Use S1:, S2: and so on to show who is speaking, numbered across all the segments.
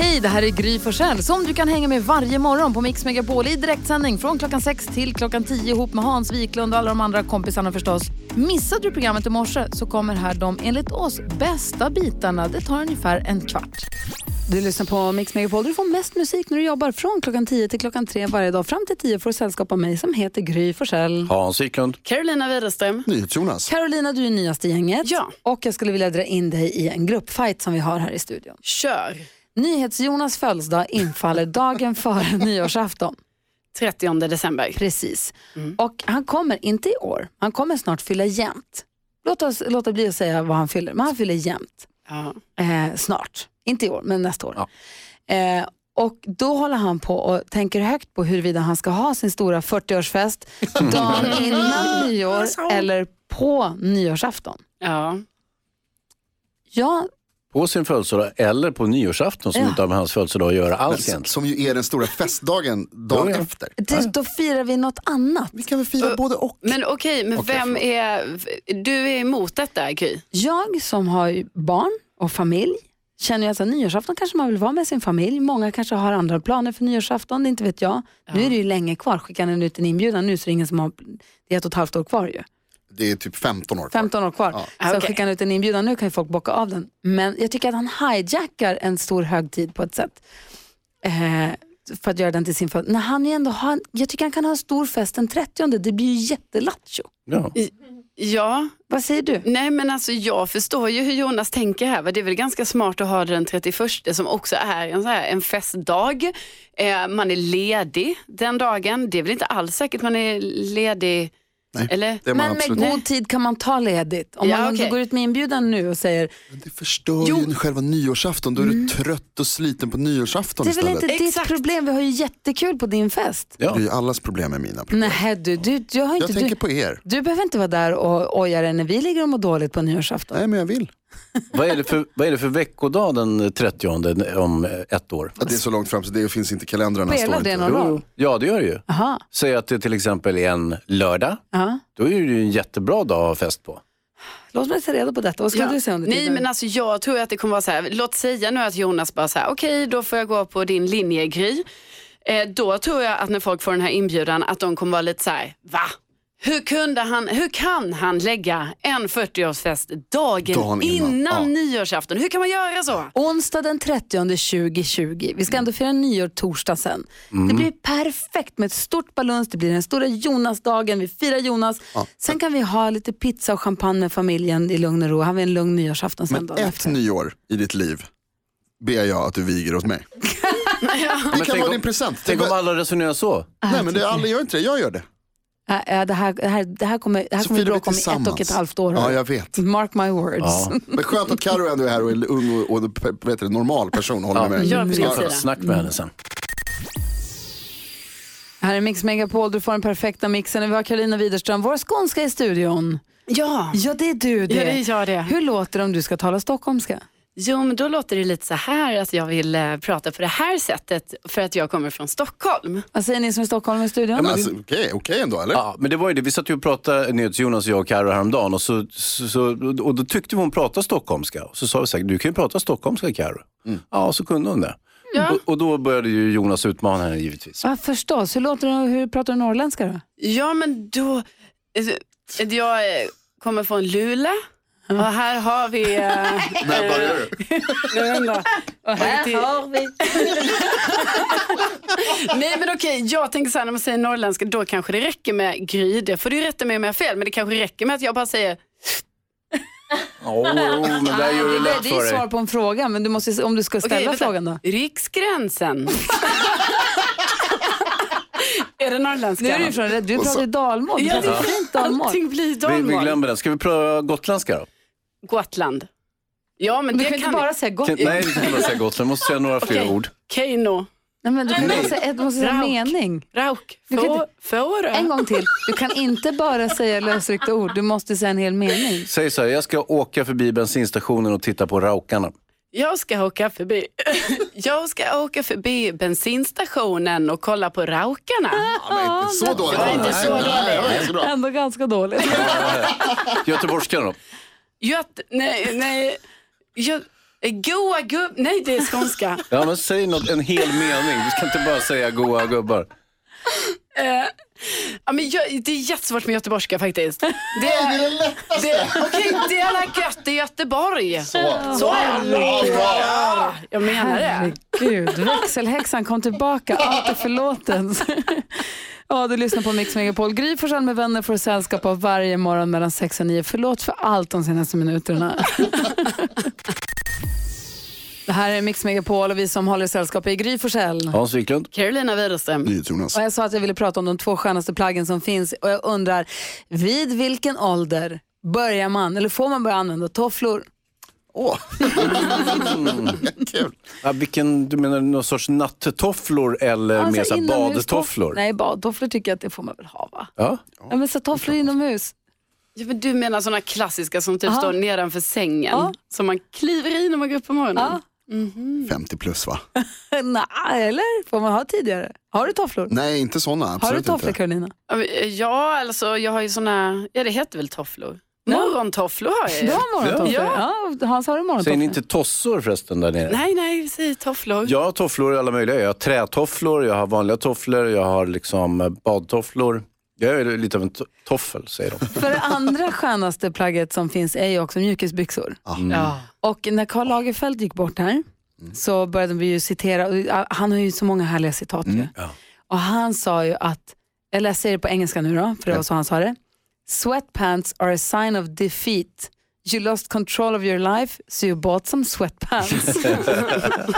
S1: Hej, det här är Gry Forssell som du kan hänga med varje morgon på Mix Megapol i direktsändning från klockan 6 till klockan 10 ihop med Hans Wiklund och alla de andra kompisarna förstås. Missade du programmet i morse så kommer här de enligt oss bästa bitarna. Det tar ungefär en kvart.
S2: Du lyssnar på Mix Megapol du får mest musik när du jobbar från klockan 10 till klockan 3 varje dag. Fram till 10 får du sällskap av mig som heter Gry Forssell.
S3: Hans Wiklund.
S2: Carolina Widerström.
S4: NyhetsJonas.
S2: Carolina, du är nyast i gänget.
S5: Ja.
S2: Och jag skulle vilja dra in dig i en gruppfight som vi har här i studion.
S5: Kör!
S2: NyhetsJonas födelsedag infaller dagen före nyårsafton.
S5: 30 december.
S2: Precis. Och han kommer, inte i år, han kommer snart fylla jämnt. Låt oss låta bli att säga vad han fyller, men han fyller jämnt.
S5: Ja.
S2: Eh, snart, inte i år, men nästa år. Eh, och då håller han på och tänker högt på huruvida han ska ha sin stora 40-årsfest dagen innan nyår eller på nyårsafton.
S5: Ja.
S2: Jag
S3: På sin födelsedag eller på nyårsafton som
S2: Ja.
S3: inte har med hans födelsedag att göra
S6: Men,
S3: alls
S6: som,
S3: egentligen.
S6: Alltså, som ju är den stora festdagen dagen
S3: Ja, ja.
S6: efter.
S2: det, då firar vi något annat.
S6: Vi kan väl fira både och.
S5: Men okej, men
S6: Okej,
S5: vem är... Du är emot detta, Gry?
S2: Jag som har ju barn och familj känner ju att så här, nyårsafton kanske man vill vara med sin familj. Många kanske har andra planer för nyårsafton, inte vet jag. Nu är det ju länge kvar, skickar den ut en inbjudan nu så är det ingen som har, det är ett och ett halvt år kvar ju.
S6: Det är typ 15 år kvar.
S2: 15 år kvar.
S5: Ja, Ah,
S2: Så
S5: okej.
S2: skickar han ut en inbjudan, nu kan ju folk bocka av den. Men jag tycker att han hijackar en stor högtid på ett sätt. Eh, för att göra den till sin födelsedag. När han ju ändå har, jag tycker han kan ha en stor fest den 30, det blir ju jättelattjo.
S3: Ja.
S5: Ja,
S2: Vad säger du?
S5: nej men alltså jag förstår ju hur Jonas tänker här. va? Det är väl ganska smart att ha den 31 som också är en, så här, en festdag. Eh, man är ledig den dagen. Det är väl inte alls säkert man är ledig,
S6: Nej,
S5: eller?
S6: Det, är man
S2: Men med
S6: absolut.
S2: god tid kan man ta ledigt. Om
S5: Ja,
S2: man
S5: okej.
S2: går ut med inbjudan nu och säger,
S6: det förstör
S5: Jo.
S6: ju själva nyårsafton. Då är du trött och sliten på nyårsafton
S2: Mm. det är väl
S6: istället.
S2: inte ditt
S5: Exakt.
S2: problem, vi har ju jättekul på din fest.
S6: Det är ju allas problem med mina problem.
S2: Nej du, du, du, har
S6: Jag
S2: inte, du,
S6: tänker på er.
S2: du behöver inte vara där och oja dig när vi ligger och mår dåligt på nyårsafton.
S6: Nej men jag vill.
S3: Vad, är det för, vad är det för veckodag den 30 om eh, ett år?
S6: Att det är så långt fram så det finns inte i kalendrarna.
S2: Spelar
S6: står
S2: det
S6: inte.
S2: någon roll?
S3: Ja, det gör det ju.
S2: Aha,
S3: Säg att det till exempel är en lördag.
S2: ja.
S3: Då är det ju en jättebra dag att ha fest på.
S2: Låt mig ta reda på detta. Vad skulle
S5: Ja.
S2: du säga om det?
S5: Nej, men alltså, jag tror att det kommer vara så här. Låt säga nu att Jonas bara så här, okej, då får jag gå på din linje, Gry. Eh, då tror jag att när folk får den här inbjudan att de kommer vara lite så här, va? Hur, kunde han, hur kan han lägga en 40-årsfest dagen
S6: Dagen
S5: innan,
S6: innan, ja.
S5: nyårsafton? Hur kan man göra så?
S2: Onsdag den 30 2020. Vi ska ändå fira nyår torsdag sen.
S6: Mm.
S2: Det blir perfekt med ett stort baluns. Det blir den stora Jonasdagen. Vi firar Jonas. Sen kan vi ha lite pizza och champagne med familjen i lugn och ro. Har vi en lugn nyårsafton sen
S6: Men
S2: dagen
S6: ett
S2: efter.
S6: nyår i ditt liv ber jag att du viger åt mig. Det kan
S3: tänk
S6: vara
S3: om-
S6: din present.
S3: Tänk om alla resonerar så.
S6: Nej men det, alla gör inte det, jag gör det.
S2: Äh, äh, det, här, det, här, det här kommer, det här
S6: Så
S2: kommer vi
S6: firar vi
S2: bråka om i ett och ett
S6: tillsammans.
S2: halvt år.
S6: Ja
S2: hörru.
S6: jag vet.
S2: Mark my words.
S3: Ja.
S6: Men skönt att Carro ändå är här och är ung och, och vad heter det, normal person håller med mig.
S5: gör på
S3: vi ska
S5: din
S3: få
S5: sida.
S3: ett snack med henne sen.
S2: Här är Mix Megapol. Du får den perfekta mixen. Vi har Karolina Widerström, vår skånska i studion.
S5: Ja,
S2: Ja, det är du det.
S5: Ja, det är jag det.
S2: Hur låter det om du ska tala stockholmska?
S5: jo, men då låter det lite så här att jag vill eh, prata på det här sättet för att jag kommer från Stockholm.
S2: Vad säger ni som är i Stockholm i studion?
S6: Alltså, Okej okej ändå eller?
S3: Ja, men det var ju det. Vi satt ju och pratade, Nyhets Jonas och jag och Carro häromdagen och, så, så, och då tyckte vi hon pratade stockholmska. Och så sa vi så här, du kan ju prata stockholmska Carro. Ja, och så kunde hon det. Och, och då började ju Jonas utmana henne givetvis.
S2: Ja, förstås. Hur, låter det, hur pratar du norrländska då?
S5: Ja, men då... eh, Jag eh, kommer från Luleå och här har vi... eh,
S6: När börjar du?
S5: Nej men okej, jag tänker så här när man säger norrländska, då kanske det räcker med Gry. Det får du ju rätta mig om jag har fel, men det kanske räcker med att jag bara säger
S3: Åh, men där gör du lätt
S2: Det är
S3: för
S2: ju svar
S3: dig.
S2: på en fråga, men du måste, om du ska ställa
S5: Okej, vänta.
S2: frågan då.
S5: riksgränsen. är det norrländska?
S2: Nu är du från, du
S6: Och så-
S2: pratar ju dalmål. Du
S5: Ja, det
S2: pratar
S5: är
S2: ju fint dalmål.
S5: Allting blir
S3: Vi, vi
S5: dalmål.
S3: glömmer den. Ska vi pröva gotländska då?
S5: Gotland. Ja men
S2: Du
S5: det
S2: kan inte
S5: kan
S2: bara säga gott.
S3: Kan, nej, vi kan inte bara säga gotländska. Vi måste säga några fler ord.
S5: Keino.
S2: Nej, men du, kan
S5: Nej.
S2: inte säga, du måste säga
S5: Rauk.
S2: mening.
S5: Rauk,
S2: Du kan
S5: få,
S2: inte-
S5: får du?
S2: En gång till. Du kan inte bara säga lösryckta ord, du måste säga en hel mening.
S3: Säg så här, jag ska åka förbi bensinstationen och titta på raukarna.
S5: Jag ska åka förbi. Jag ska åka förbi bensinstationen och kolla på raukarna.
S6: Ja, men inte så dåligt.
S5: var inte så
S6: Nej,
S5: dåligt.
S6: nej, det var ganska bra.
S2: Ändå ganska dåligt.
S3: Göteborgskan då?
S5: Göt, nej, nej. Gö, goa gubb... Nej, det är skånska.
S3: Ja, men säg något, en hel mening. Du ska inte bara säga goa gubbar.
S5: Ja, men jag, det är jättesvårt med göteborgska faktiskt. Det
S6: Det är
S5: är,
S6: det lättaste.
S5: det, okej, det är alla gött i Göteborg.
S6: Så.
S5: Så ja.
S6: Ja, bra.
S5: Ja, jag menar det.
S2: Herregud, växelhäxan kom tillbaka. Allt är förlåten. Ja, du lyssnar på Mix Megapol. Gry Forssell med vänner får sällskap av varje morgon mellan 6 och 9. Förlåt för allt de senaste minuterna. Det här är Mix Megapol och vi som håller sällskap är Gry Forssell.
S3: Hans Wiklund?
S5: Carolina Widerström.
S6: Jonas.
S2: Och jag sa att jag ville prata om de två skönaste plaggen som finns och jag undrar, vid vilken ålder börjar man, eller får man börja använda tofflor?
S6: Åh. Kul.
S3: Ja, vilken, du menar någon sorts nattofflor eller mer så här
S2: inomhustoff-
S3: badtofflor?
S2: Alltså, Nej, badtofflor tycker jag att det får man väl ha va?
S3: Ja.
S2: Ja, men så tofflor inomhus.
S5: Ja, men du menar sådana klassiska som typ
S2: Ja.
S5: står nedanför sängen.
S2: Ja.
S5: Som man kliver i när man går upp på morgonen.
S2: Ja.
S6: 50 plus va?
S2: Nej, eller? Får man ha tidigare? Har du tofflor?
S3: Mm.
S6: Nej, inte sådana.
S2: har du
S6: Absolut
S2: tofflor
S6: inte.
S2: Karolina?
S5: Ja, men, Ja, alltså jag har ju såna, ja det heter väl tofflor? Morgontofflor har jag
S2: Du
S5: ju.
S2: har morgontofflor? Ja. Hans, har du morgontofflor?
S3: Säger ni inte tossor förresten där nere?
S5: Nej, nej, vi säger tofflor.
S3: Jag har tofflor i alla möjliga. Jag har trätofflor, jag har vanliga tofflor, jag har liksom eh, badtofflor. Jag är lite av en to- toffel, säger de.
S2: För det andra skönaste plagget som finns är ju också mjukisbyxor.
S5: Ja. Mm.
S2: Och när Karl Lagerfeld gick bort här så började vi ju citera, och, ah, han har ju så många härliga citat
S5: Mm.
S2: ju. Och han sa ju att, eller jag säger det på engelska nu då, för det var så han sa det. Sweatpants are a sign of defeat. You lost control of your life, so you bought some sweatpants.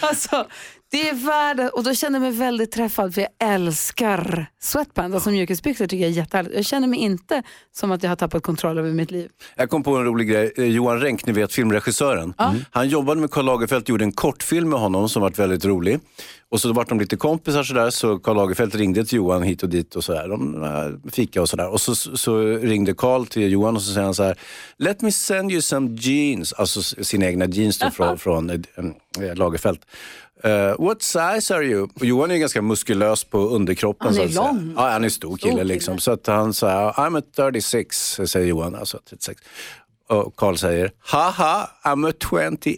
S2: alltså, det är värde, och då känner jag mig väldigt träffad för jag älskar sweatpants. Alltså mjukisbyxor tycker jag är jättehärligt. Jag känner mig inte som att jag har tappat kontroll över mitt liv.
S3: Jag kom på en rolig grej. Eh, Johan Renck, ni vet filmregissören. Mm. Han jobbade med Karl Lagerfeld, gjorde en kortfilm med honom som var väldigt rolig. Och så då vart de lite kompisar sådär, så Karl Lagerfeld ringde till Johan hit och dit och sådär. De äh, fika och sådär. Och så, så ringde Karl till Johan och så säger han så här, Let me send you some jeans. Alltså s- sina egna jeans då från, från eh, eh, Lagerfeld. Eh, what size are you? Och Johan är ju ganska muskulös på underkroppen.
S2: Han är
S3: så att säga.
S2: lång.
S3: Ja, han är stor kille.
S2: kille.
S3: liksom. Så att han säger, I'm at 36, säger Johan. Alltså 36. Och Carl säger, haha, I'm at 28.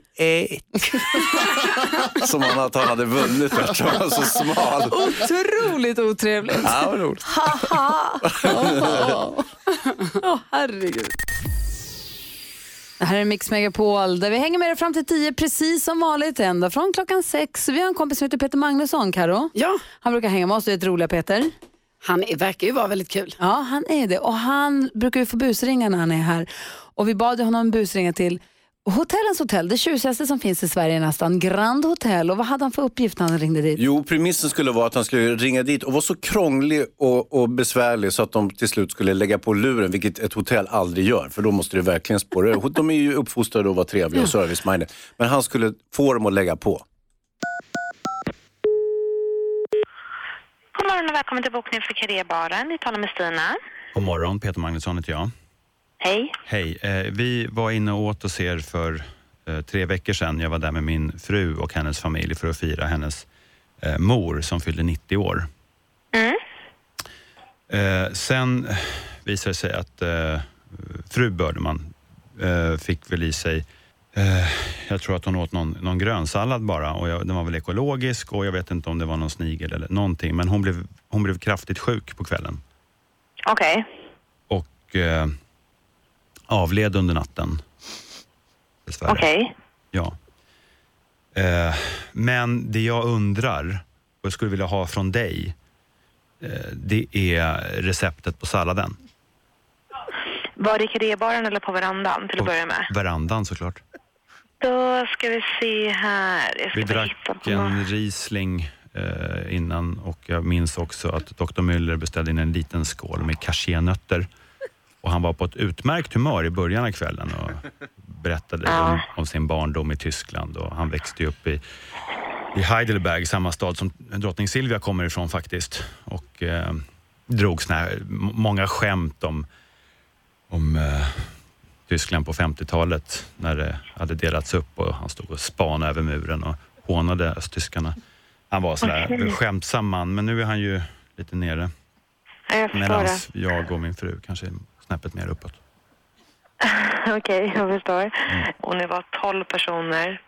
S3: Som han att han hade vunnit eftersom han var så smal.
S2: Otroligt otrevligt.
S3: Ja, vad roligt.
S2: Haha! Åh, herregud. Det här är Mix Megapol där vi hänger med er fram till 10 precis som vanligt ända från klockan sex. Vi har en kompis som heter Peter Magnusson, Karo.
S5: ja,
S2: Han brukar hänga med oss, du vet roliga Peter.
S5: han är, verkar ju vara väldigt kul.
S2: Ja, han är det. Och han brukar ju få busringar när han är här. Och vi bad ju honom busringa till Hotellens hotell, det tjusigaste som finns i Sverige nästan, Grand Hotel. Och vad hade han för uppgift när han ringde dit?
S3: Jo, premissen skulle vara att han skulle ringa dit och vara så krånglig och, och besvärlig så att de till slut skulle lägga på luren, vilket ett hotell aldrig gör, för då måste det verkligen spåra ur. De är ju uppfostrade att vara trevliga och service-minded, men han skulle få dem att lägga på.
S7: God morgon och välkommen till bokningen för Karébaren. Ni talar med Stina.
S8: God morgon, Peter Magnusson heter jag.
S7: Hej.
S8: Hej, eh, vi var inne och åt hos er för eh, tre veckor sedan. Jag var där med min fru och hennes familj för att fira hennes eh, mor som fyllde 90 år.
S7: Mm.
S8: Eh, sen visade det sig att eh, fru Bördeman eh, fick väl i sig eh, jag tror att hon åt någon, någon grönsallad bara och jag, den var väl ekologisk och jag vet inte om det var någon snigel eller någonting men hon blev, hon blev kraftigt sjuk på kvällen
S7: Okej.
S8: och eh, avled under natten. Dessvärre.
S7: Okej.
S8: Ja. Eh, men det jag undrar och jag skulle vilja ha från dig, eh, det är receptet på salladen.
S7: Var det i Karébaren eller på verandan till att
S8: På
S7: börja med?
S8: verandan såklart.
S7: Då ska vi se här. Jag ska
S8: Vi
S7: bara
S8: drack en Riesling eh, innan och jag minns också att Dr. Müller beställde in en liten skål med cashewnötter. Och han var på ett utmärkt humör i början av kvällen och berättade om, om sin barndom i Tyskland och han växte ju upp i i Heidelberg, samma stad som drottning Silvia kommer ifrån faktiskt. Och eh, drog såna här, m- många skämt om, om eh, Tyskland på 50-talet när det hade delats upp och han stod och spanade över muren och hånade östtyskarna. Han var sådär
S7: Okej.
S8: skämtsam man, men nu är han ju lite nere.
S7: Ja, jag förstår
S8: Medan
S7: det.
S8: jag och min fru kanske är snäppet mer uppåt.
S7: Okej, jag förstår.
S8: Mm.
S7: Och ni var 12 personer.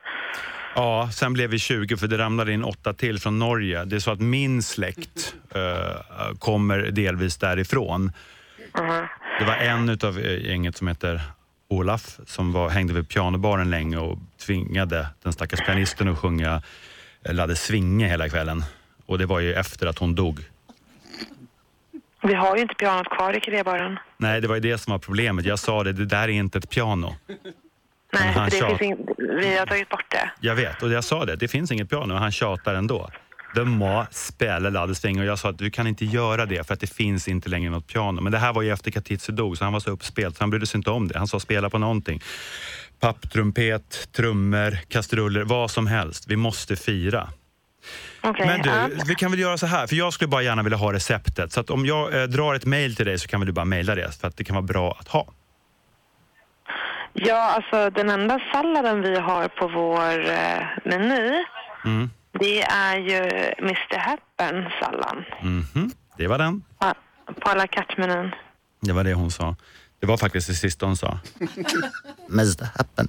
S8: Ja, sen blev vi 20 för det ramlade in åtta till från Norge. Det är så att min släkt eh, kommer delvis därifrån. Det var en utav eh, gänget som heter Olaf som var, hängde vid pianobaren länge och tvingade den stackars pianisten att sjunga eh, Ladde Svinge hela kvällen. Och det var ju efter att hon dog.
S7: Vi har ju inte pianot kvar i Karébaren.
S8: Nej, det var ju det som var problemet. Jag sa det, det där är inte ett piano.
S7: Nej,
S8: han
S7: för det
S8: tjat-
S7: finns ing... vi har tagit bort det.
S8: Jag vet, och jag sa det, det finns inget piano, men han tjatar ändå. De må spela Laddersvinge och jag sa att du kan inte göra det för att det finns inte längre något piano. Men det här var ju efter Katitzi dog så han var så uppspelt så han brydde sig inte om det. Han sa spela på någonting. Papptrumpet, trummor, kastruller, vad som helst. Vi måste fira.
S7: Okej.
S8: Men
S7: ja.
S8: du, vi kan väl göra så här, för jag skulle bara gärna vilja ha receptet. Så att om jag eh, drar ett mejl till dig så kan väl du bara mejla det för att det kan vara bra att ha.
S7: ja, alltså den enda salladen vi har på vår eh, meny,
S8: Mm.
S7: det är ju Mr Happen-sallan.
S8: Mhm. Det var den.
S7: Ja, På alla kattmenyn.
S8: Det var det hon sa. Det var faktiskt det sista hon sa.
S9: Mr Happen.